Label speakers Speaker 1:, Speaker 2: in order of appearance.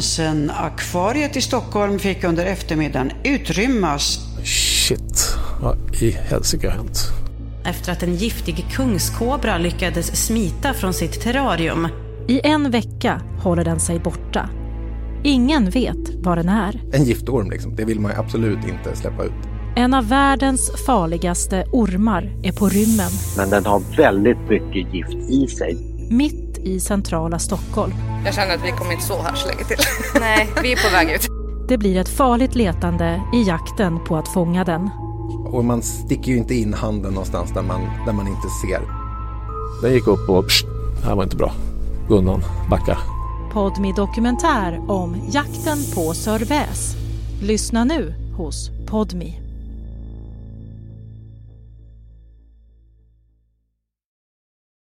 Speaker 1: Skansen-akvariet i Stockholm fick under eftermiddagen utrymmas
Speaker 2: Shit, vad i helsike har hänt?
Speaker 3: efter att en giftig kungskobra lyckades smita från sitt terrarium.
Speaker 4: I en vecka håller den sig borta. Ingen vet var den är.
Speaker 5: En giftorm liksom, det vill man ju absolut inte släppa ut.
Speaker 4: En av världens farligaste ormar är på rymmen
Speaker 6: Men den har väldigt mycket gift i sig.
Speaker 4: mitt i centrala Stockholm.
Speaker 7: Jag känner att vi kommer inte stå här så länge till. Nej, vi är på väg ut.
Speaker 4: Det blir ett farligt letande i jakten på att fånga den.
Speaker 5: Och man sticker ju inte in handen någonstans där man, där man inte ser.
Speaker 2: Den gick upp och... Pst, det här var inte bra. Gå undan, backa.
Speaker 4: Podmi dokumentär om jakten på Sörväs. Lyssna nu hos Podmi.